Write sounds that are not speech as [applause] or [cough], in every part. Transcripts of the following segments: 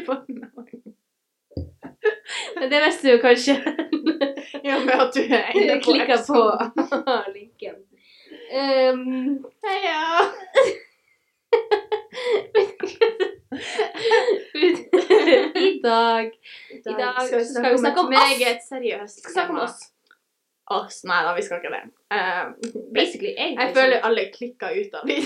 [laughs] fornavn. Det visste du kanskje. Ja, med at du er inne på Klikka på episoden. linken. Ehm, [laughs] Heia! I dag I dag så skal vi snakke om oss. meget seriøst. Vi skal snakke om tema. oss. Oss? Nei da, vi skal ikke det. [laughs] Eh, Basically, egentlig. jeg føler alle klikka ut av [laughs] det.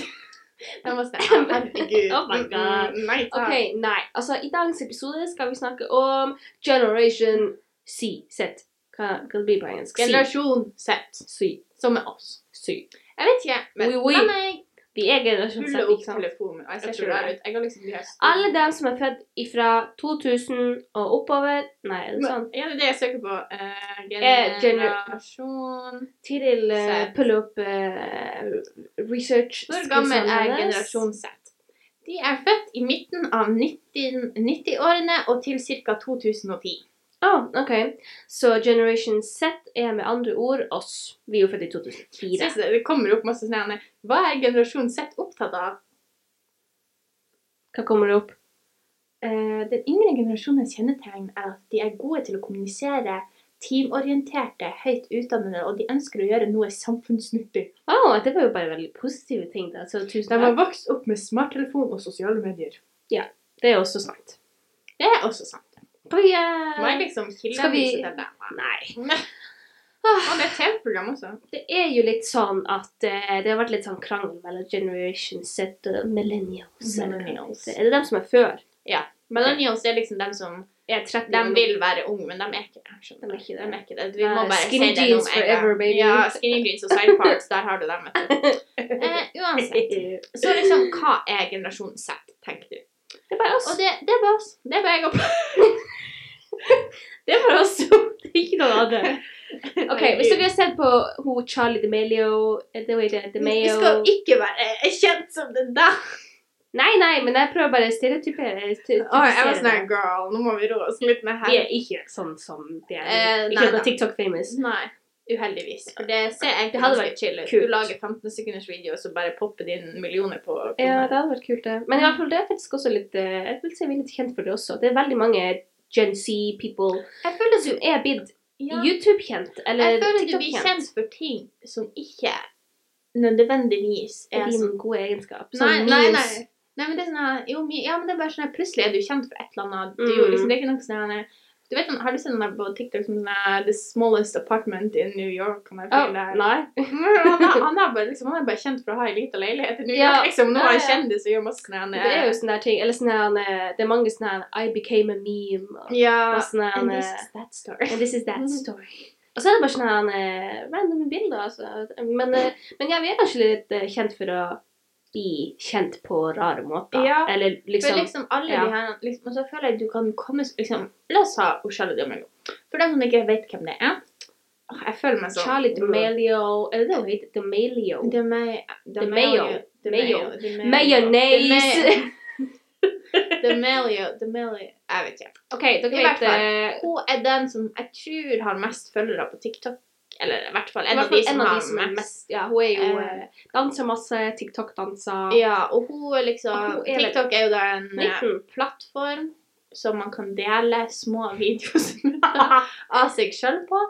De var sånn Herregud. Oh my God. Nei takk. OK, nei. Altså, i dagens episode skal vi snakke om Generation C. Z. Hva, hva det blir på engelsk? C. Generasjon Z, C. som er oss. C. Jeg vet ikke, men Oui, oui. la meg Vi er generasjon Z, pulle opp ikke sant? telefonen min. og Jeg ser Jeg ikke tror rar det. ut. Jeg har liksom de her store- Alle dem som er født ifra 2000 og oppover Nei, er det sånn? Ja, det er det jeg søker på. Eh, Eh, gener- generasjon Tiril uh, Z. pull up eh, research Hvor skills gammel er hennes. generasjon Z? De er født i midten av 19 90-årene og til ca. 2010. Ah, ok. Så Generation Z er med andre ord oss. Vi er jo født i 2004. Synes det, det kommer opp masse sånne Hva er generasjon Z opptatt av? Hva kommer det opp? Eh, den yngre generasjonens kjennetegn er at de er gode til å kommunisere, teamorienterte, høyt utdannede, og de ønsker å gjøre noe samfunnsnyttig. Å, det var jo bare veldig positive ting, da. Så tusen De har takk. vokst opp med smarttelefon og sosiale medier. Det er også sant. Det er også sant. Oi, eh, Hva er liksom kilden Skal vi- til det? Nei. Og det er et TV-program også. Det er jo litt sånn at eh, det har vært litt sånn krangel mellom Generation Z og Millennials. eller hva det Millennials. heter. Er det dem som er [laughs] før? Millennials er liksom dem som Jeg er 30 De år nå. vil være unge, men de er ikke det. skjønner De er du. ikke det. De er ikke det. Vi må Nei, bare skinny si det jeans nå med en forever, gang. baby. Ja, skinny jeans og side parts, der har du dem, vet du. Eh, uansett. Så liksom, hva er generasjon Z, tenker du? Det er bare oss. Og det, det er bare oss. Det er bare jeg og [laughs] Det er bare oss to. Det er [laughs] ikke noen andre. Ok, Hvis dere har sett på ho Charlie DeMelio eh, det var ikke det, Vi DeMeo skal ikke være eh, kjent som det der. Nei, nei, men jeg prøver bare å sånn stereotypere. eller stu- typisere det. sånn girl, nå må vi roe oss litt ned De er ikke sånn som de er. Eh, ikke nei, noe nei. TikTok-famous. Nei. Uheldigvis. For det ser egentlig Det hadde ganske vært chill ut. kult. Du lager 15 sekunders video, og så bare popper det inn millioner på Ja, det hadde vært kult, det. Men i hvert fall, det er faktisk også litt eh, Jeg vil si vi er litt kjent for det også. Det er veldig mange Gen Z-people Jeg føler som er blitt Ja. YouTube-kjent eller Jeg føler du blir TikTok-kjent. kjent for ting som ikke nødvendigvis Er er din sånn gode egenskap. Nei, Sånn nei, memes. nei. Nei, men det er sånn her- jo, my- Ja, men det er bare sånn her, Plutselig er du kjent for et eller annet. Du, Mm. liksom, det er ikke noe sånn her- du vet, sånn- Har du sett den der på TikTok som sånn her, 'The smallest apartment in New York'? Han er, Å, fyren der. [laughs] nei. han, er, han, er bare, liksom, han er bare kjent for å ha ei lita leilighet i New Ja, York. Liksom. Nå er han ja, ja. kjendis og gjør masse sånn Det er jo sånne der ting Eller sånne her, eh, Det er mange sånne her I became a meme og, Ja. og sånne her, And this eh, is that story. And this is that Mhm. story. Og så er det bare sånne her, eh, random bilder, altså. Men, eh, men ja, vi er kanskje litt eh, kjent for å bli kjent på rare måter. Ja, Eller For liksom liksom alle ja. de her liksom, Og så føler jeg du kan komme liksom, La oss ha Charlie D'Amelio. For dem som ikke vet hvem det er Åh, Jeg føler meg sånn Charlie DeMelio Er det det hun heter? DeMelio? De Mayo. De Mayo. De Mayo. Mayo. De Mayo. Mayonnaise! [laughs] De Mayo. De Mayo. Jeg vet ikke. OK, dere I hvert vet fall. eh, Hun er den som jeg tror har mest følgere på TikTok. Eller i hvert fall i en hvert av de fall som en av har de som er mest. mest Ja, hun er jo Eh, eh, Danser masse, TikTok-danser. Mm, Ja, og hun er liksom Og hun er vel- TikTok er jo da en eh, 19. plattform som man kan dele små [laughs] videosnutter av seg sjøl på.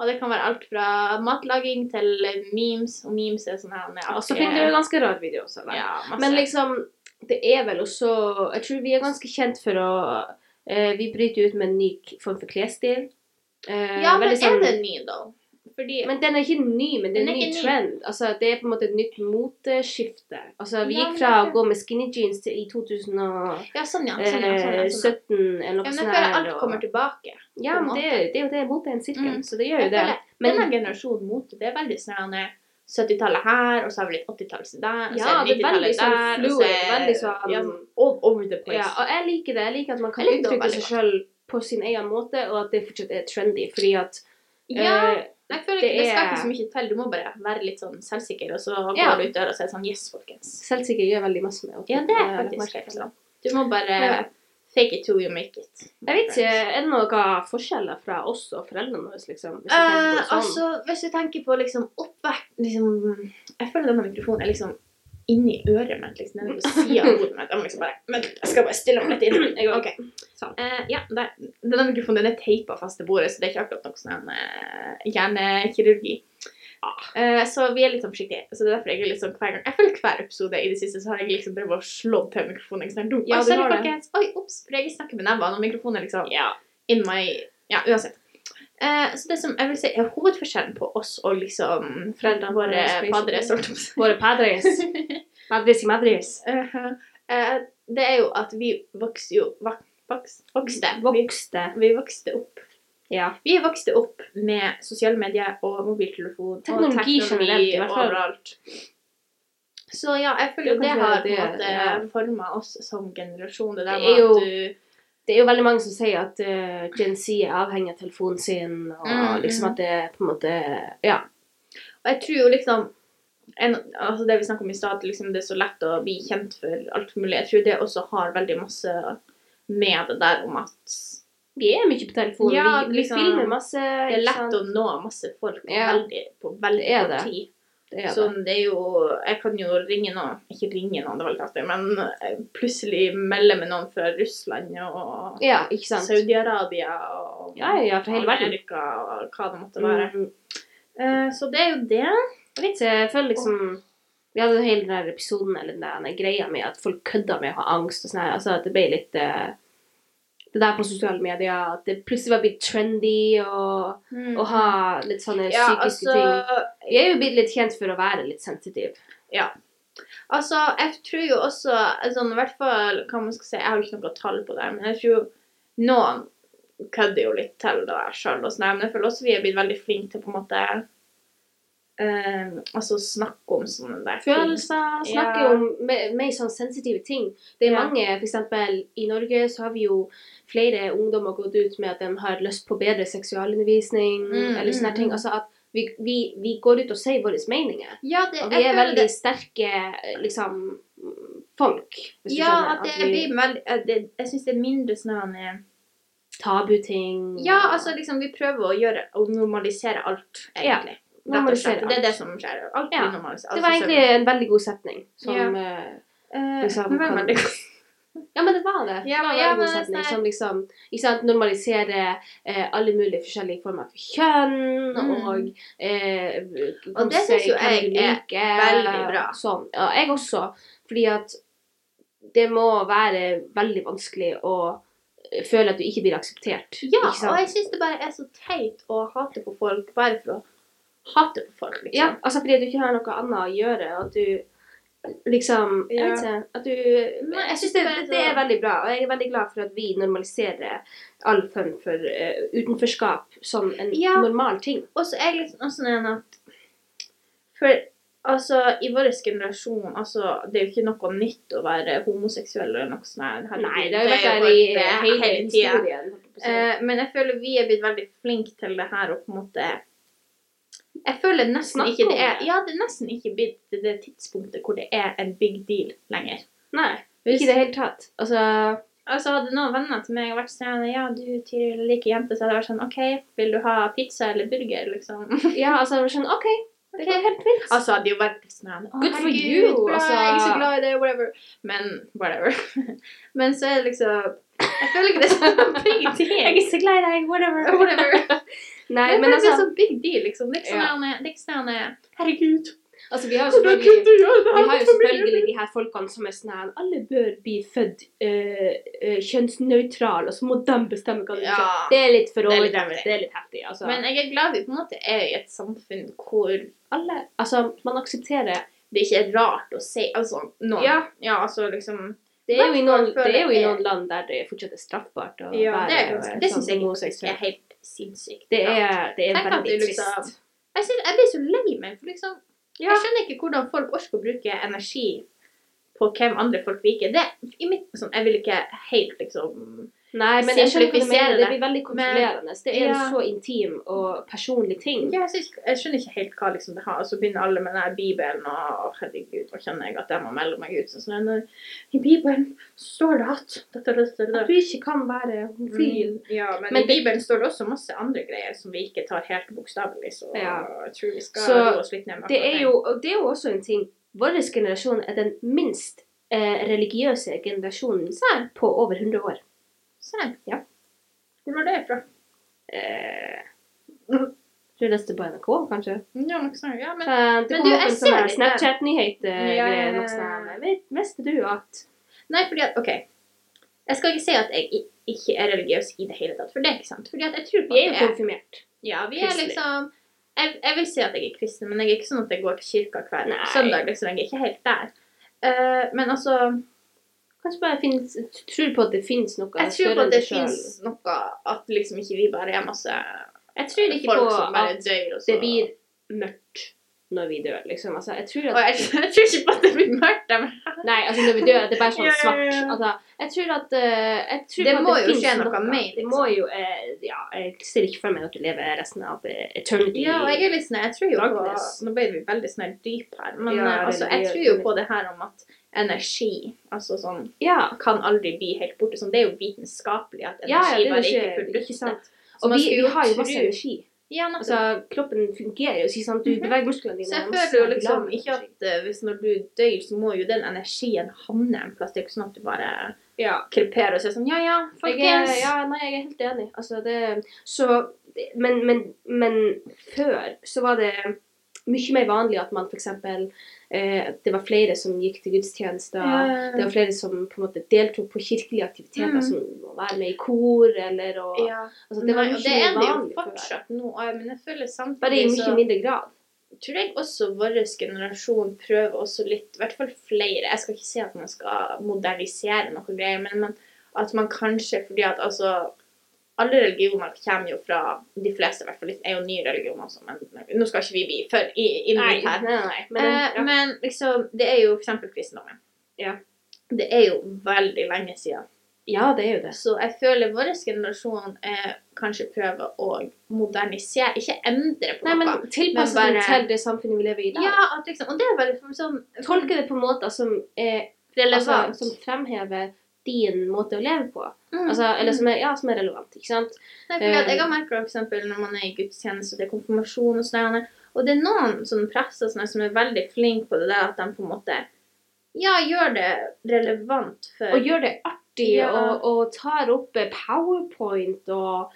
Og det kan være alt fra matlaging til memes, og memes er sånn her med Og så finner du ganske rar video også. da. ja, masse. Men liksom, det er vel også Jeg tror vi er ganske kjent for å eh, Vi bryter ut med en ny k- form for klesstil. Eh, Ja, men veldig sånn- er den ny, da? Fordi men den er ikke ny, men det er en Den er ny ikke ny. trend. Altså, det er på en måte et nytt moteskifte. Altså, vi Ja, gikk men fra å det- gå med skinny jeans til i 2017 Ja, sånn, ja. Sånn, ja, sånn, ja, sånn, ja. Eh, eller ja noe men jeg sånt. sånn føler her, alt og- kommer tilbake. Ja, men det, er- det er jo det. Mot er en sirkel, Mm. så det gjør jo Jeg det. føler Men Denne generasjonen mote, det er veldig sånn her, 70-tallet her, og så har vi litt 80-tallet der, og så ja, er det er veldig 90-tallet sånn der, og så fluid. er Veldig sånn ja, all over the place. Ja, og jeg liker det. Jeg liker at man kan Jeg liker det uttrykke veldig seg sjøl på sin egen måte, og at det fortsatt er trendy. Fordi at Ja, eh, Jeg føler Det ikke, det skal er- ikke så mye til. Du må bare være litt sånn selvsikker, og så går Ja. du ut døra og sier sånn Yes, folkens. selvsikker gjør veldig masse med Ja, det er Eh, faktisk merker jeg. helt sant. Du må bare Ja. fake it till you make it. Jeg vet ikke, Er det noen forskjeller fra oss og foreldrene våre, liksom? Hvis vi tenker på Eh, det sånn? altså, hvis du tenker på liksom oppvekst liksom, Jeg føler denne mikrofonen er liksom inni øret mitt, liksom. Den er på siden av hodet mitt. Jeg må liksom bare Vent litt, jeg skal bare stille meg litt inn. Jeg går, ok. Sånn. Eh, ja, der. Denne mikrofonen den er teipa fast til bordet, så det er ikke akkurat noe sånn eh, hjernekirurgi. Ah. Eh, så vi er litt sånn forsiktige. Så det er derfor jeg er litt sånn hver gang Jeg føler hver episode i det siste så har jeg liksom prøvd å slå til mikrofonen. Ikke sant? Oi, Ja, du sorry, har det. folkens. Oi, ops. For jeg snakker med nevene, og mikrofonen er liksom Ja. in my Ja, uansett. Eh, så det som jeg vil si er hovedforskjellen på oss og liksom foreldrene våre, Basically. padres, holdt jeg på å si. Våre padres. Madres i Madres. [laughs] Eh, eh, det er jo at vi vokste jo vak, vaks, vokste. Vi, Vokste. vi vokste opp. Ja. Vi vokste opp med sosiale medier og mobiltelefon Teknologi generelt, og i teknologi hvert fall. overalt. Så ja, jeg føler Det er jo det kanskje har på det- en måte ja. forma oss som generasjon. Det der Det er med jo- at du Det er jo veldig mange som sier at uh, Gen Z er avhengig av telefonen sin, og Mm, liksom mm. at det på en måte Ja. Og jeg tror jo liksom en, altså Det vi snakket om i stad, at liksom det er så lett å bli kjent for alt mulig. Jeg tror det også har veldig masse med det der om at Vi er mye på telefonen. Ja, vi, vi liksom, filmer masse. det er lett å nå masse folk på Ja. veldig, på veldig Det er kort det. tid. det er Sånn, det er jo Jeg kan jo ringe noen Ikke ringe noen, det var litt artig, men eh, plutselig melde med noen fra Russland og det. Ja, ikke sant? Saudi-Arabia og Ja, ja, fra hele verden. Amerika og hva det måtte være. Mm. Eh, så det er jo det. Jeg vet ikke, jeg føler liksom Vi hadde hele den der episoden eller den der greia med at folk kødda med å ha angst og sånn her. Altså at det ble litt eh, Det der på sosiale medier, at det plutselig var blitt trendy og, å ha litt sånne Mm. ja, psykiske ting. altså, Jeg er jo blitt litt kjent for å være litt sensitiv. Altså, jeg tror jo også sånn, I hvert fall hva man skal si, jeg har jo ikke noe tall på det, men jeg tror jo noen kødder jo litt til det der sjøl. Men jeg føler også vi er blitt veldig flinke til på en måte eh, Altså snakke om sånne der ting. Følelser, snakke Ja. om me- mer sånn sensitive ting. Det er Ja. mange, for eksempel i Norge så har vi jo flere ungdommer gått ut med at de har lyst på bedre seksualundervisning Mm, eller sånne mm, her ting. mm. Altså at vi, vi, vi går ut og sier våre meninger. Ja, det, Og jeg vi er føler veldig sterke liksom folk. det, Hvis du Ja, skjønner. at det vi blir veldig eh, det, Jeg syns det er mindre sånn eh, Tabuting. Ja, altså liksom vi prøver å gjøre å normalisere alt, Ja, egentlig. Rett og slett. Det er det som skjer. Alt blir Ja. normalisert. Det var Altså, så- egentlig en veldig god setning. Som, Ja. eh, Eh, liksom, det var kan- veldig Ja, men det var det. Ja, det var en ja, veldig men sånn god setning det er- som liksom ikke sant, normaliserer eh, alle mulige forskjellige former for kjønn Mm. og eh, Og det synes jo jeg er veldig bra. Sånn. Ja, jeg også. Fordi at det må være veldig vanskelig å føle at du ikke blir akseptert. Ja, ikke sant? og jeg syns det bare er så teit å hate på folk bare for å hate på folk, liksom. Ja, altså fordi du ikke har noe annet å gjøre, og at du liksom Jeg Ja. vet ikke. At du Nei, Jeg syns det, det er så- det er veldig bra, og jeg er veldig glad for at vi normaliserer all form for eh, utenforskap som en Ja. normal ting. Og så er jeg litt sånn en at For altså, i vår generasjon altså, Det er jo ikke noe nytt å være homoseksuell eller noe sånt. her. Herregud, Nei, det har jo vært der bare i eh, det hele tiden. historien. holdt jeg på å si. Eh, men jeg føler vi er blitt veldig flinke til det her og på en måte Jeg føler nesten Snakke ikke det om er det. Ja, det er nesten ikke blitt det- det tidspunktet hvor det er en big deal lenger. Nei, ikke i det hele tatt. Altså Altså, hadde noen venner til meg vært sånn Ja, du Tiril, liker jenter, så hadde jeg vært sånn OK, vil du ha pizza eller burger, liksom? [laughs] Ja, altså, jeg var sånn OK, det går helt fint. Altså, hadde jo vært sånn «Å, Good for herregud, you», bra, altså. Jeg er ikke så glad i det, whatever. Men whatever. [laughs] Men så er det liksom Jeg føler ikke det er [laughs] sånn big jeg er deal. ikke så glad i deg, whatever. [laughs] Whatever. Nei, Men, men det er altså, sånn big deal, liksom. Det er ikke Ja. sånn det er ikke sånn Herregud, altså Vi har jo hvordan selvfølgelig kunne du gjøre det Vi har her jo for meg? selvfølgelig de her folkene som er sånn her Alle bør bli født eh, eh, kjønnsnøytrale, og så må de bestemme hva de Ja. skal Det er litt for Det er over litt det, heftig. det er litt heftig. Altså. Men jeg er glad vi på en måte er i et samfunn hvor alle Altså, man aksepterer det ikke er rart å si Altså, noen Ja. ja altså liksom Det er jo i noen, Hvertfall det føler er jo i jeg- noen land der det fortsatt er straffbart å Ja, det, er være ganske- det sånn syns jeg faktisk homoseksuell. er helt sinnssykt. Det Ja. er, det er Tenk at veldig du liksom- trist. jeg, synes, jeg blir så lei meg. for liksom, Ja. Jeg skjønner ikke hvordan folk orker å bruke energi på hvem andre folk liker. Det, i mitt, sånn, jeg vil ikke helt liksom Nei, men jeg skjønner hva du Simplifisere mener. Det det. blir veldig Men- kontrollerende. Det er en Ja. så intim og personlig ting. ja, jeg, synes ikke, jeg skjønner ikke helt hva liksom, det har. Og så begynner alle med den her Bibelen, og å, herregud, nå kjenner jeg at jeg må melde meg ut. Så Sånn, «Nei, I Bibelen står det at dette, dette, dette. At du ikke kan være homofil. Mm, Ja, men, Men i det- Bibelen står det også masse andre greier som vi ikke tar helt bokstavelig, så Ja. jeg tror vi skal Så roe oss litt ned med Det akkurat er jo, og det er jo også en ting vår generasjon er den minst eh, religiøse generasjonen Serr? på over 100 år. Serr? Ja. Hvor var sånn, det fra? Eh, tror jeg leste på NRK, kanskje. Ja, noe sånt. Ja, men Eh, det men kom du, opp jeg en sånn ser her det. Snapchat-nyhet. eh, Ja, ja, greie, ja, noe sånn ja. her, «Vet- Visste du at Nei, fordi at OK. Jeg skal ikke si at jeg i- ikke er religiøs i det hele tatt, for det er ikke sant. Fordi at jeg tror på Vi er jo at jeg er- konfirmert. Ja, vi er kristelig. liksom jeg, jeg vil si at jeg er kristen, men jeg er ikke sånn at jeg går til kirka hver Nei. søndag. liksom, Jeg er ikke helt der. Eh, men altså Kanskje bare finnes, tror på at det finnes noe Jeg tror på at det fins noe At liksom ikke vi bare er masse Jeg tror ikke folk på som bare at dør og så det blir mørkt når vi dør, liksom. Altså, jeg tror Og at jeg, jeg tror ikke på at det blir mørkt. jeg mener. Nei, altså når vi dør, at det er bare Ja, sånn ja, svart. ja. Altså, jeg tror at eh, jeg tror Det på at må jo finnes skje noe med, Det liksom. må jo eh, Ja, jeg ser ikke for meg at du lever resten av eh, eternity. Ja, og jeg er litt sånn Jeg tror jo på Darkness. Nå ble vi veldig sånn her dyp her, men Ja, eh, altså, jeg veldig- tror jo på det her om at energi altså sånn, ja. kan aldri bli helt borte. Sånn, det er jo vitenskapelig at energi Ja, ja, det er bare jo ikke ikke, fullt ikke sant. Så Og man vi, skulle vi har jo tro- masse energi. Ja, nettopp. Altså, kroppen fungerer jo, ikke sant. Du Mhm. beveger musklene dine. så jeg og masse føler jo liksom regular ikke energi. at eh, hvis når du dør, så må jo den energien havne en plass. Det er jo ikke sånn at du bare ja. kreperer og sier sånn Ja, ja, Jeg folkens. er, ja, nei, jeg er helt enig. Altså, det, så, men, men, men før så var det mye mer vanlig at man f.eks. Eh, det var flere som gikk til gudstjenester. Det var flere som på en måte deltok på kirkelige aktiviteter, Mhm. som å være med i kor eller og, ja. altså, Det var Nei, og mye det mer er det jo vanlig før. fortsatt nå. og jeg- Men jeg føler samtidig Bare i mye mindre grad. tror jeg også vår generasjon prøver også litt, i hvert fall flere Jeg skal ikke si at man skal modernisere noe greier, men, men at man kanskje Fordi at altså Alle religioner kommer jo fra De fleste, i hvert fall, er jo nye religioner også, men nå skal ikke vi bli for i, inn i her. nei, nei. Men, Men, eh, ja. men liksom Det er jo for eksempel kristendommen. Ja. Det er jo veldig lenge siden. ja, det er jo det. Så jeg føler vår generasjon eh, kanskje prøver å modernisere, ikke endre på Nei, men noe. tilpasse Men det bare- til det samfunnet vi lever i i dag. ja, at liksom, og det er veldig sånn Tolke det på måter som er altså, relevant. som fremhever din måte å leve på. sånn- Mm. Altså, eller eh, som er, ja, som er relevant, ikke sant? Nei, fordi at jeg har merket for eksempel når man er i gudstjeneste og det er konfirmasjon og sånn der, og det er noen sånne prester og sånne som er veldig flinke på det der at de på en måte ja, gjør det relevant for Og gjør det artig, Ja. og, og tar opp eh, powerpoint, og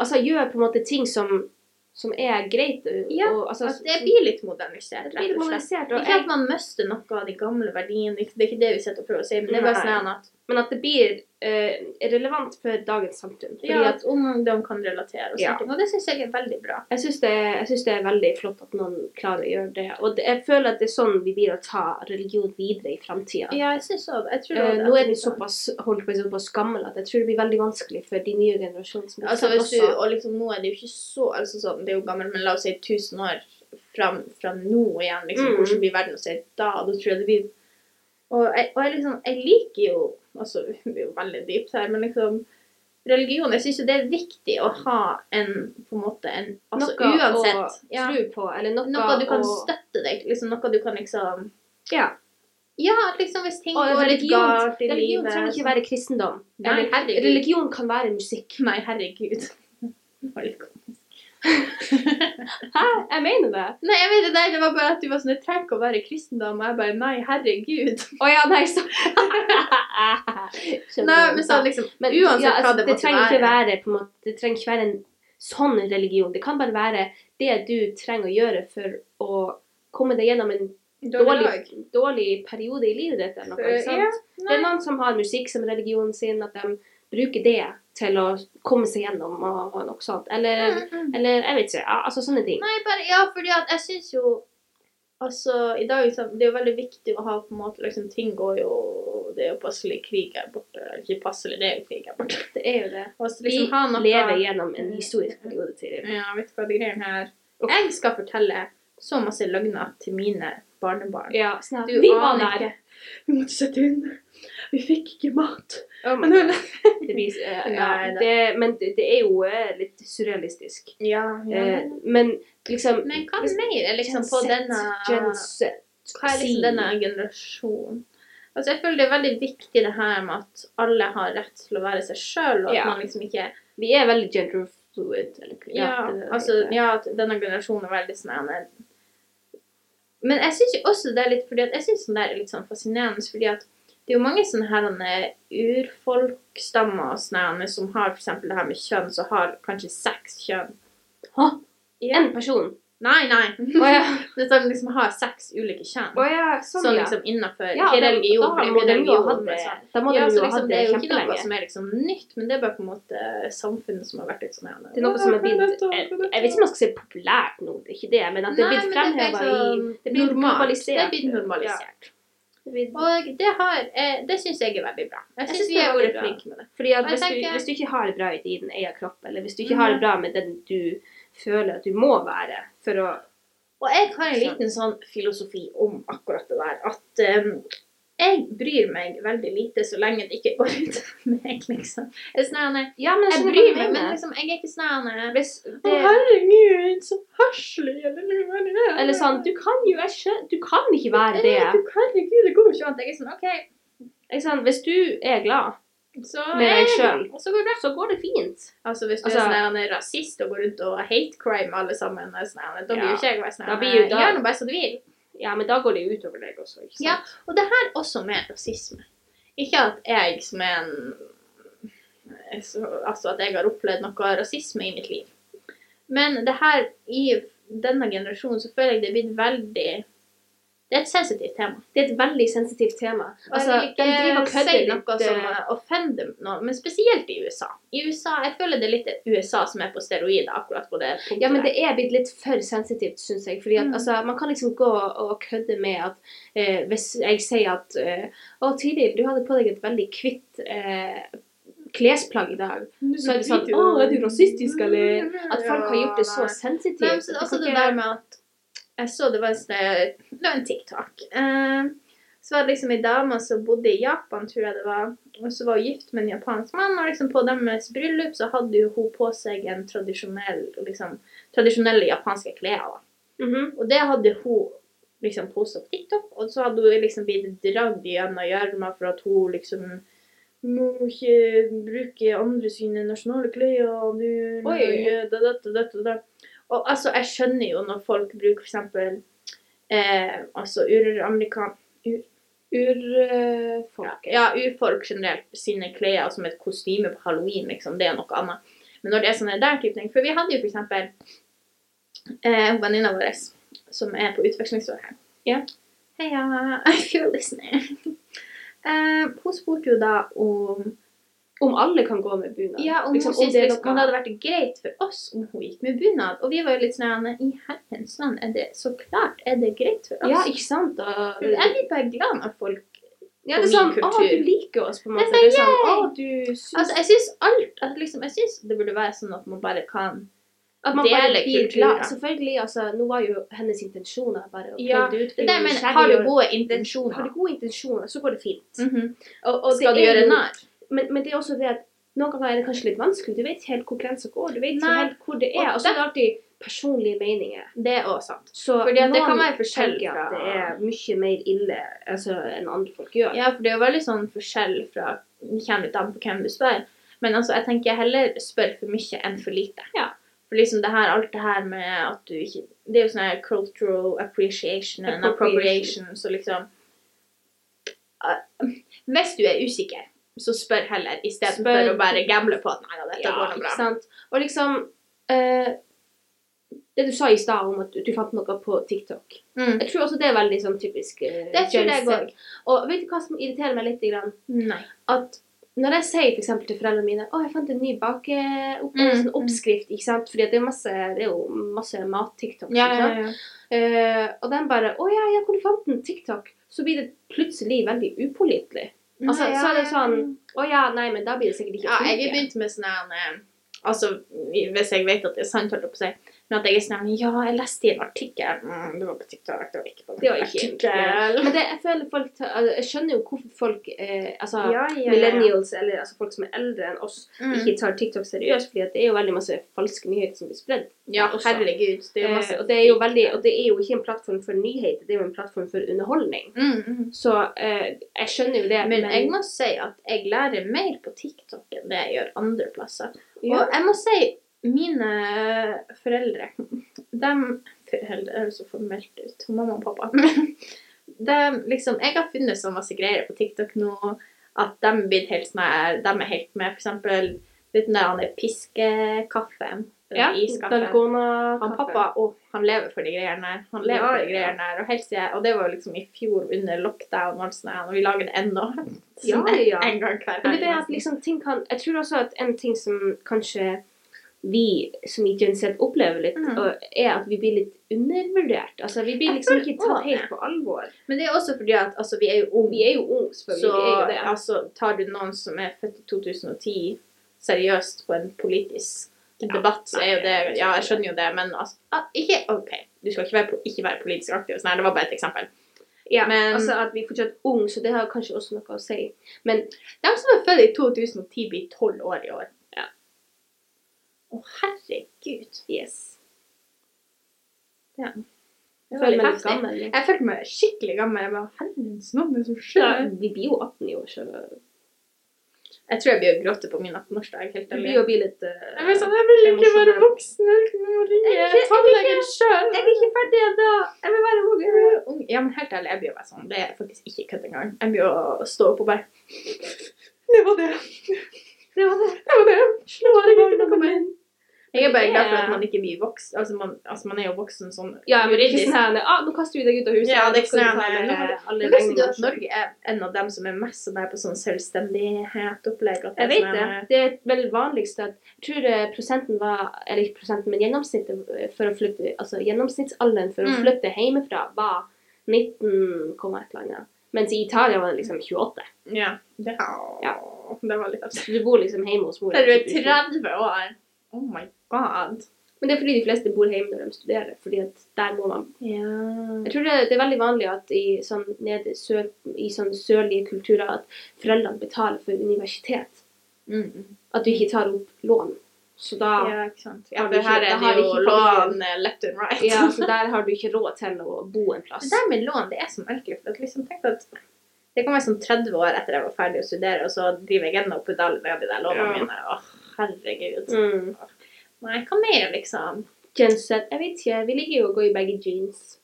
altså gjør på en måte ting som, som er greit. og- Ja, og, altså, at det blir litt modernisert, det blir rett og slett. modernisert. Og Ikke at jeg, man mister noe av de gamle verdiene, det er ikke det vi sitter og prøver å si, men det er bare Nei. sånn at, men at det blir eh, relevant for dagens samfunn. Fordi ja, at at ungdom kan relatere og Ja. sånt, og det synes jeg er veldig bra. jeg syns det, jeg synes det er veldig flott at noen klarer å gjøre det. Og det, jeg føler at det er sånn vi blir å ta religion videre i framtida. Ja, jeg synes også, jeg tror Eh, også det nå at er vi den kan- såpass, holdt på, å si, såpass gammel at jeg tror det blir veldig vanskelig for de nye generasjonene. som Altså kommer hvis du, også. og liksom nå er det jo ikke så altså sånn, Det er jo gammelt, men la oss si 1000 år fram, fra nå igjen. liksom, Mm. Hvordan blir verden å se da? Da tror jeg det blir Og jeg, og jeg liksom, jeg liker jo altså [laughs] Det blir jo veldig dypt her, men liksom Religion Jeg syns jo det er viktig å ha en på en måte en, altså, noe Uansett. å Ja, tro på, eller noe, noe du kan å- støtte deg til. Liksom, noe du kan liksom Ja. Ja, liksom hvis ting Og går litt religion- galt i Religion livet trenger ikke sånn. være kristendom. Nei, Eller, herregud. religion kan være musikk. Nei, herregud. Det var litt Hæ? Jeg mener det. Nei, jeg vet det, det var bare at du var sånn, jeg trenger ikke å være kristendom, og jeg bare, nei, herregud. Å ja, nei, så [laughs] Nei, men så liksom, Men uansett ja, altså, hva det det måtte trenger være. ikke være på en måte, Det trenger ikke være en sånn religion. Det kan bare være det du trenger å gjøre for å komme deg gjennom en dårlig, dårlig periode i livet ditt. Eller noe, Eh, ikke sant? ja, det er noen som har musikk som religionen sin, at de bruker det til å komme seg gjennom og, og noe sånt. Eller Mm, mm. Eller jeg vet ikke. Ja, altså sånne ting. Nei, bare, ja, fordi at jeg synes jo, altså, i dag, liksom, det er jo veldig viktig å ha på en måte, liksom, ting går jo, det er jo passelig krig her borte, eller ikke passelig, det er jo krig her borte. Det er jo det. Og så Vi liksom ha noe... lever gjennom en historisk periode til. Ja, vet du hva det greier her? Uff. Jeg skal fortelle så masse løgner til mine barnebarn. Ja, snart. Du Vi var aner der. ikke. Vi måtte sette inn. Vi fikk ikke mat. Oh my Men hun... God. det blir, eh, Nei, ja, det, men det, det er jo eh, litt surrealistisk. Ja, ja. Eh, men liksom Men hva mer er liksom på Gen Z, denne Gen Z. Hva er liksom denne generasjonen? Altså Jeg føler det er veldig viktig det her med at alle har rett til å være seg sjøl, og at Ja. man liksom ikke Vi er veldig gender fluid. Eller, Ja, det- det- altså, det- ja at denne generasjonen er veldig sånn en- Men jeg syns også det er litt fordi at jeg synes sånn der er litt sånn fascinerende. fordi at det er jo mange sånne her eh, urfolkstammer og sånne her, som har f.eks. det her med kjønn, som har kanskje seks kjønn. Hå? Ja. En [laughs] person? Nei, nei. Å ja. [laughs] Det er sånn liksom har seks ulike kjønn. sånn, Sånn ja. liksom innenfor Ja, ikke da- religion, da for må det de blir jo ha religion. hatt men det. sånn. Da må Ja, de så jo ha liksom, hatt det det er jo ikke noe kjempelenge. som er liksom nytt, men det er bare på en måte samfunnet som har vært litt sånn her. Det er noe som er blitt Jeg jeg vet ikke om man skal si populært nå, det er ikke det, men at det er blitt fremheva i Det blir liksom Det normalisert. er blitt normalisert. Det blir- Og det, har, eh, det syns jeg er veldig bra. Jeg Jeg syns synes vi det er har veldig vært bra. flinke med det. Fordi at Og jeg hvis du, tenker- Mhm. hvis du ikke har det bra i din egen kropp, eller hvis du ikke har det bra med den du føler at du må være for å Og jeg har en liten sånn filosofi om akkurat det der at ehm, jeg bryr meg veldig lite så lenge det ikke går ut av meg, liksom. Jeg, er sånn her, nei, Ja, men jeg bryr meg, men liksom, jeg er ikke sånn her, nei, Hvis Å, det, herregud, så hørselig! Eller, eller sånn Du kan jo jeg skjøn- Du kan ikke være det. Du, herregud, det går jo ikke an. Jeg er sånn OK, Ikke sant? Hvis du er glad, så Med deg er det- selv. Og så går det bra. så går det fint. Altså, hvis du Altså- er sånn der, en rasist og går rundt og hate crime alle sammen, og sånn, her, da blir Ja. jo ikke jeg bare sånn her, Da blir jo da- Gjør nå bare som du vil. Ja, men da går det jo utover deg også, ikke sant? Ja. Og det her også med rasisme. Ikke at jeg som er en så- Altså at jeg har opplevd noe rasisme i mitt liv. Men det her i denne generasjonen så føler jeg det er blitt veldig Det er et sensitivt tema. Det er et veldig sensitivt tema. Altså, Altså, de driver og kødder si noe litt, som eh, eh, offender noe, men spesielt i USA. I USA, Jeg føler det er litt USA som er på steroider akkurat på det punktet. Ja, men der. det er blitt litt for sensitivt, syns jeg. Fordi at Mm. altså, man kan liksom gå og kødde med at eh, hvis jeg sier at eh, Å, Tiril, du hadde på deg et veldig hvitt eh, klesplagg i dag. Så er det sånn Å, er du Mm, rasistisk, eller? At folk har gjort det så sensitivt. Nei, men så, Jeg det er kan også det ikke- der med at Jeg så det var en, sånn- det var en TikTok. Eh, så var det liksom ei dame som bodde i Japan, tror jeg det var, og så var hun gift med en japansk mann. Og liksom på deres bryllup så hadde jo hun på seg en tradisjonell, liksom, tradisjonelle japanske klær. da. Mhm. Og det hadde hun liksom posta på TikTok, og så hadde hun liksom blitt dratt gjennom gjørma for at hun liksom må ikke bruke andre sine nasjonale klær og du må Oi. gjøre da, da, da, da, da. Og altså, jeg skjønner jo når folk bruker for eksempel eh, altså uramerikan... Ur, eh, Urfolk. ja, urfolk generelt sine klær som et kostyme på halloween, liksom, det er noe annet. Men når det er sånne der type ting For vi hadde jo for eksempel eh, venninna vår som er på utvekslingsår her. Ja. Heia, [laughs] if you're listening. Eh, hun spurte jo da om Om alle kan gå med bunad. ja, om Liksom, hun syntes det er liksom, noe- om det hadde vært greit for oss om hun gikk med bunad. Og vi var jo litt sånn I herrens navn, er det så klart er det greit for oss? Ja, ikke sant? Og, jeg blir bare glad når folk ja, det er på min sånn Å, kultur. du liker oss, på en måte. Det Det er er sånn yay! Å, du syns Altså, jeg syns alt at liksom, Jeg syns det burde være sånn at man bare kan At man bare Dele blir kulturer. glad. Selvfølgelig, altså, nå var jo hennes intensjoner bare å Ja, prøve ut. Det der med nysgjerrig har du og- gode Har intensjoner. du gode intensjoner, så går det fint. Mhm. Og, og det Skal er du gjøre jo- narr? Men, men det er også det at noen ganger er det kanskje litt vanskelig. Du vet ikke helt hvor grensa går. Du vet ikke Nei. helt hvor det er. Og Og så er det alltid personlige meninger. Det er òg sant. Så Fordi at det kan være tenker forskjell fra at det er mye mer ille altså, enn andre folk gjør. Ja, for det er jo veldig sånn forskjell fra Det kommer litt an på hvem du spør. Men altså, jeg tenker jeg heller spør for mye enn for lite. Ja. For liksom det her, alt det her med at du ikke Det er jo sånn her cultural appreciation and Appropriation. appropriation, så liksom Eh, Hvis du er usikker, så spør heller, istedenfor Spør. å bare gamble på at nei da, dette går nå bra. ikke sant? Og liksom eh, Det du sa i stad om at du fant noe på TikTok. Mm. Jeg tror også det er veldig sånn typisk eh, Det tror Gen jeg Z. òg. Og vet du hva som irriterer meg litt? Grann? Nei. at når jeg sier for eksempel til foreldrene mine å, jeg fant en ny bake opp, Mm, sånn oppskrift, ikke sant? Fordi at det er, masse, det er jo masse mat-TikTok. Ja, ikke ja, sant? ja. Eh, og de bare å ja, ja, hvor du fant den? TikTok. Så blir det plutselig veldig upålitelig. Altså, så er det sånn- Å ja, nei, men da blir det sikkert ikke Ja, jeg har funke. begynt med sånn her eh, Altså, hvis jeg vet at det er sant, holdt jeg på å si. Men at jeg er sånn her, Ja, jeg leste i en artikkel mm, Det var på TikTok, det var ikke på Det var ikke Men det, jeg føler folk tar- altså, Jeg skjønner jo hvorfor folk eh, Altså Ja, ja, ja. millennials, eller altså, folk som er eldre enn oss, Mm. ikke tar TikTok seriøst, fordi at det er jo veldig masse falske nyheter som blir spredd. Ja, også. herregud. Det er jo Eh, masse og, det er jo veldig, og det er jo ikke en plattform for nyheter, det er jo en plattform for underholdning. mm, mm. Så eh, jeg skjønner jo det, Men jeg må si at jeg lærer mer på TikTok enn det jeg gjør andre plasser. ja, Og jeg må si mine foreldre De foreldre Det høres så formelt ut. Mamma og pappa. [laughs] Men det, er liksom, jeg har funnet så masse greier på TikTok nå at de, blir helt sånn her, de er helt med. For eksempel uten den der piskekaffen. den Ja, iskaffen. Dalgona Han pappa å, han lever for de greiene her. Han lever Ja, for de ja. greiene her. Og, helt siden- og det var jo liksom i fjor under lockdown, og alt sånt her, og vi lager det ennå. [laughs] Ja, Sånn en- ja. En gang hver Men det er det helg, at liksom ting kan Jeg tror også at en ting som kanskje vi som i Gen Z opplever litt, Mm. og- er at vi blir litt undervurdert. Altså vi blir Jeg liksom føler ikke tatt også helt det. på alvor. Men det er også fordi at altså, vi er jo unge. Vi er jo unge, selvfølgelig. Så vi er jo det. altså, tar du noen som er født i 2010 seriøst på en politisk debatt, så er jo det Ja, jeg skjønner jo det, men altså ah, Ikke OK, du skal ikke være, po- ikke være politisk aktiv. og Sånn, her, det var bare et eksempel. Ja, Men- altså at vi er fortsatt unge, så det har kanskje også noe å si. De som er født i 2010, blir 12 år i år. Ja. Å, herregud. Yes. Det Jeg var føler litt meg litt heftig. gammel. liksom. jeg. Jeg følte meg skikkelig gammel. Jeg bare, herrens navn, det er så Ja, skjønt. vi blir jo 18 i år, så Jeg tror jeg blir å gråte på min 18-årsdag. vi helt ærlig. blir jo bli litt eh, Jeg blir sånn, jeg vil ikke være Emosjonell. voksen, jeg vil ikke må Jeg ringe vil ikke- tannlegen sjøl. Jeg er ikke ferdig ennå! Jeg vil være ung. jeg vil være- Ja, men helt ærlig, jeg blir jo bare sånn. Det er faktisk ikke kødd engang. Jeg blir å stå opp og bare Det var det. Det var det. Det var det. Slå av Herregud, barna kom mine. igjen. Jeg er bare glad for Det er- at man ikke blir voksen. Altså, man, altså, man er jo voksen sånn Ja, men det er ikke juridisk. sånn her ah, 'Nå kaster vi deg ut av huset.' Ja, det er nå ikke skal du sånn ta her, med nå har du- alle Men visste du at regninger. Norge er en av dem som er mest sånn her på sånn selvstendighet-opplegg? at Jeg er vet sånn det. her- Det er veldig vanligst at Jeg tror eh, prosenten var Eller ikke prosenten, men gjennomsnittet eh, for å flytte Altså gjennomsnittsalderen for å Mm. flytte hjemmefra var 19, komma et eller annet. Mens i Italia var det liksom 28. Ja. Det, ja. det var litt absurd. Så du bor liksom hjemme hos mor. Der du er typ, i 30 år. Oh my god. sju- Men det er fordi de fleste bor hjemme når de studerer. Fordi at der må man Ja. Jeg tror det, det er veldig vanlig at i sånn, nede, sør, i sånn sørlige kulturer at foreldrene betaler for universitet. Mm. at du ikke tar opp lån. Så da ja. ja, ikke sant. Ja, Har du for her ikke- er da har det jo ikke familien- lån eh, left and right. så der har du ikke råd til å bo en Det plass. der med lån, det er så merkelig. For at liksom, tenk at det kan være sånn 30 år etter jeg var ferdig å studere, og så driver jeg ennå og pedal med de der lånene Ja. mine. Åh, herregud. Mm. Nei, hva mer, liksom? Genset, jeg vet ikke, vi liker jo å gå i baggy [laughs] jeans.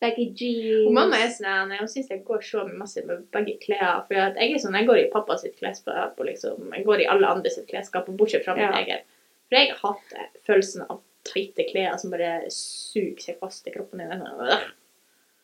Baggy jeans. Og mamma er sånn, her, nei, hun syns jeg går så masse med begge klær. For at jeg er sånn, jeg går i pappa sitt klesskap, og liksom, jeg går i alle andre sitt klesskap, og bortsett fra mitt Ja. eget. For jeg hater følelsen av tighte klær som bare suger seg fast i kroppen din. Øh.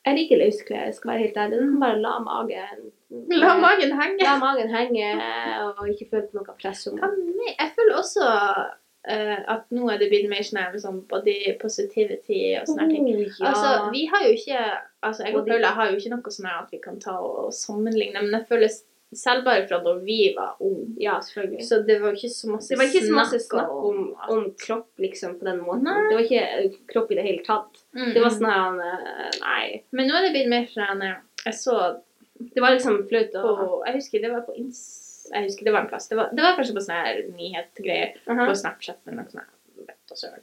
Jeg liker løsklær, jeg skal være helt ærlig. Du kan bare la magen La magen henge. La magen henge og ikke føle på noe press om Hva mer? Jeg føler også eh, at nå er det blitt mer sånn her med sånn body positivity og sånne her ting. Oh, ja. Altså, vi har jo ikke Altså, jeg og Body- Paula har jo ikke noe sånn her at vi kan ta og sammenligne, men jeg føler selv bare fra da vi var unge ja, selvfølgelig. Så det var ikke så masse, det var ikke så masse snakk om, at- om kropp liksom på den måten. Nei. Det var ikke eh, kropp i det hele tatt. Mm. Det var sånn her eh, Nei. Men nå er det blitt mer sånn eh, Jeg så Det var liksom flaut å på Jeg husker det var på Ins... Jeg husker det var en plass. Det var, det var kanskje på sånne her nyhetsgreier Aha. på Snapchat eller noe sånt. her, Vet da søren.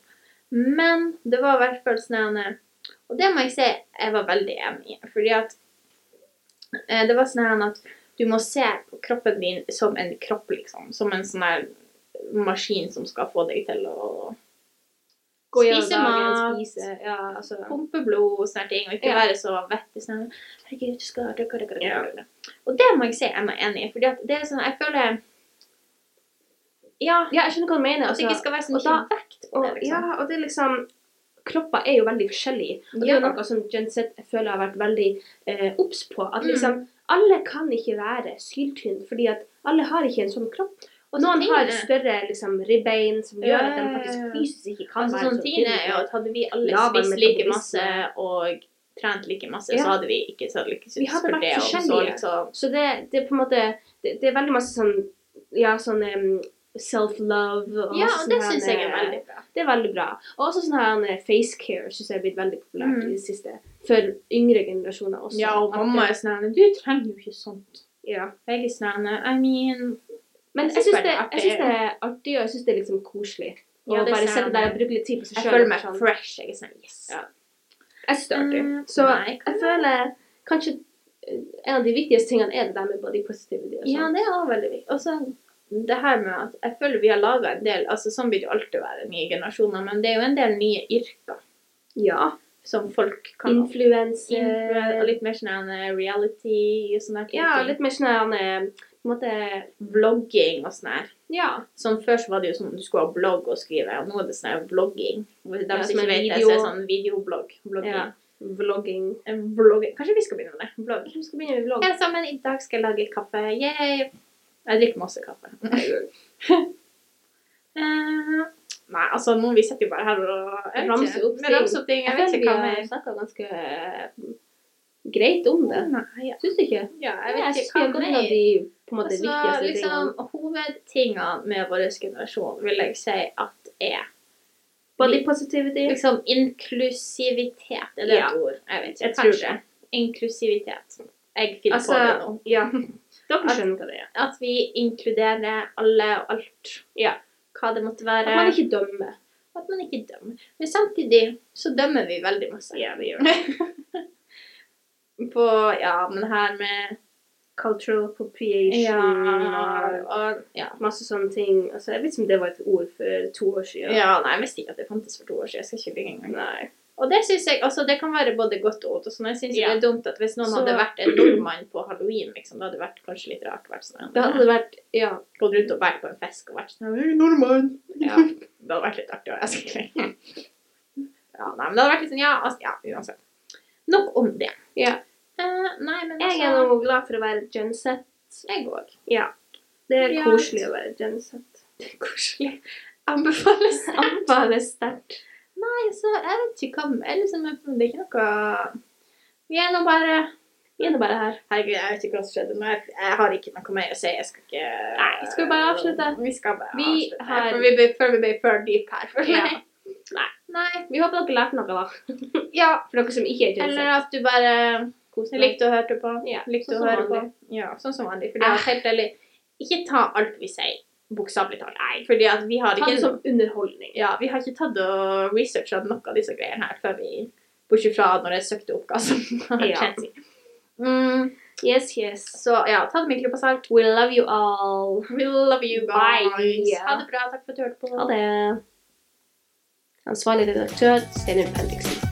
Men det var i hvert fall sånn her, eh, Og det må jeg si jeg var veldig enig i. Fordi at eh, Det var sånn her at du må se på kroppen din som en kropp, liksom. Som en sånn her maskin som skal få deg til å Gå gjennom Spise dagen, mat. Spise, ja, altså. pumpe blod og sånne ting, og ikke Ja. være så vettig sånn Herregud, du skal røkke, røkke, røkke, røkke. Og det må jeg si jeg er meg enig i, fordi at det er sånn Jeg føler Ja, Ja, jeg skjønner hva du mener. at det Altså, ikke skal være så og mye da- vekt på og, det, ja, liksom. og det er liksom Kropper er jo veldig forskjellige. Og det er jo Ja. noe som Gen Z jeg føler har vært veldig eh, obs på. At Mm. liksom alle kan ikke være syltynne, fordi at alle har ikke en sånn kropp. Og noen tingen har er- større liksom, ribbein som gjør Ja, at de ja, ja, ja. faktisk fysisk ikke kan Altså, være sånn så tingen er jo tynne. at hadde vi alle Ja, men spist like metabolisme- masse og trent like masse, Ja. så hadde vi ikke sett like Vi hadde vært og så forskjellige. liksom- Så det, det er på en måte Det, det er veldig masse sånn Ja, sånn em, self-love og Ja, masse og det sånn syns her, jeg er eh, veldig bra. Det er veldig bra. Og også sånn her eh, face care synes jeg er blitt veldig populært Mm. i det siste. For yngre generasjoner også. Ja, og At mamma det- er sånn her, Du trenger jo ikke sånt. ja. Jeg er sånn her, I mean Men Jeg jeg synes syns det, bare det er jeg synes det er artig, og jeg syns det er liksom koselig. Å Ja, det er bare sånn, sitte der og bruke litt tid på seg Jeg sjøl. føler meg fresh. Jeg er sånn Yes. Ja. Jeg synes det er artig. Eh, Så nei, jeg føler kanskje eh, en av de viktigste tingene er det der med body positivity. Og Ja, sånn. det er også veldig viktig. Og så det her med at jeg føler vi har laga en del altså Sånn vil det jo alltid være nye generasjoner, men det er jo en del nye yrker Ja. som folk kan Influencer, og Influenser. litt mer sånn eh, reality og sånne her type Ja, ting. litt mer sånn her, han er på en måte vlogging og sånn her. Ja. Sånn Før så var det jo sånn du skulle ha blogg og skrive, og nå er det sånn her vlogging. Og De Ja, som som ikke en vet det, så video. er det sånn videoblogg. Vlogging. Ja. Vlogging. Eh, Vlogging. Kanskje vi skal begynne med det? Blogg. Vi skal begynne med vlogg. Hei sammen, i dag skal jeg lage kaffe. Yay! Jeg drikker masse kaffe. Eh, nei, altså nå vi sitter jo bare her og jeg vet Ramser ikke. opp Vi ramser opp ting. Jeg vet ikke hva vi har mer. snakka ganske eh, greit om det. Nei, ja. Syns du ikke? ja, Ja, jeg vet synes ikke vi hva har gått mer. gjennom de på en måte, Altså, viktigste liksom, hovedtingene med vår generasjon vil jeg si at er Body positivity. liksom inklusivitet. Er det Ja. et ord? Jeg vet ikke. Jeg tror Kanskje. Inklusivitet. Jeg finner Altså, på det nå. Ja. Dere At- skjønner hva det er. At vi inkluderer alle og alt. Ja. Hva det måtte være. At man ikke dømmer. At man ikke dømmer. Men samtidig så dømmer vi veldig masse. Ja, vi gjør [laughs] På ja, men her med Cultural appropriation ja, og og, ja. masse sånne ting. Altså, jeg vet ikke om det var et ord for to år ja. siden. Nei, jeg visste ikke at det fantes for to år siden. Jeg skal ikke lyve engang. Nei. Og det synes jeg, altså det kan være både godt og ondt. og sånn. Jeg synes Ja. det er dumt at Hvis noen Så- hadde vært en nordmann på halloween, liksom, det hadde vært kanskje litt rart. Vært sånn, eh, Det hadde vært Ja. Gått rundt og vært på en fisk og vært sånn «Jeg er nordmann! [laughs] Ja, det hadde vært litt artig å jeg skal ikke Ja, nei, men det hadde vært litt sånn, ja, altså, ja, uansett. Nok om det. Ja. Eh, nei, men Jeg altså, er nå glad for å være genset. Jeg òg. Det er Ja. koselig å være genset. Koselig. Anbefales. Bare sterkt. Nei, så jeg vet ikke hva mer. Liksom, det er ikke noe Vi er nå bare Vi er nå bare her. Herregud, jeg vet ikke hva som skjedde, men jeg, jeg har ikke noe mer å si. Jeg skal ikke Nei, skal vi bare avslutte? Vi skal bare Vi avslutte. har- For vi ble, før vi ble for deep her. For Ja. meg. Nei. Nei. Vi håper dere lærte noe, da. Ja. For dere som ikke er genset. Eller at du bare Kos dere. likte å høre på. Ja, Likte sånn å som høre på. vanlig. Ja, sånn som vanlig. Fordi at helt ærlig, ikke ta alt vi sier, bokstavelig talt. Nei. Fordi at vi har Ta det ikke som underholdning. ja, vi har ikke tatt og researcha noe av disse greiene her før vi Bortsett fra når jeg søkte opp hva som har Ja. skjedd. Mm, Yes, yes. så ja, ta det med en klype salt. We love you all. We love you guys. Bye. Ha det bra. Takk for at du hørte på. Ha det. Ansvarlig redaktør Steinar Bendiksen.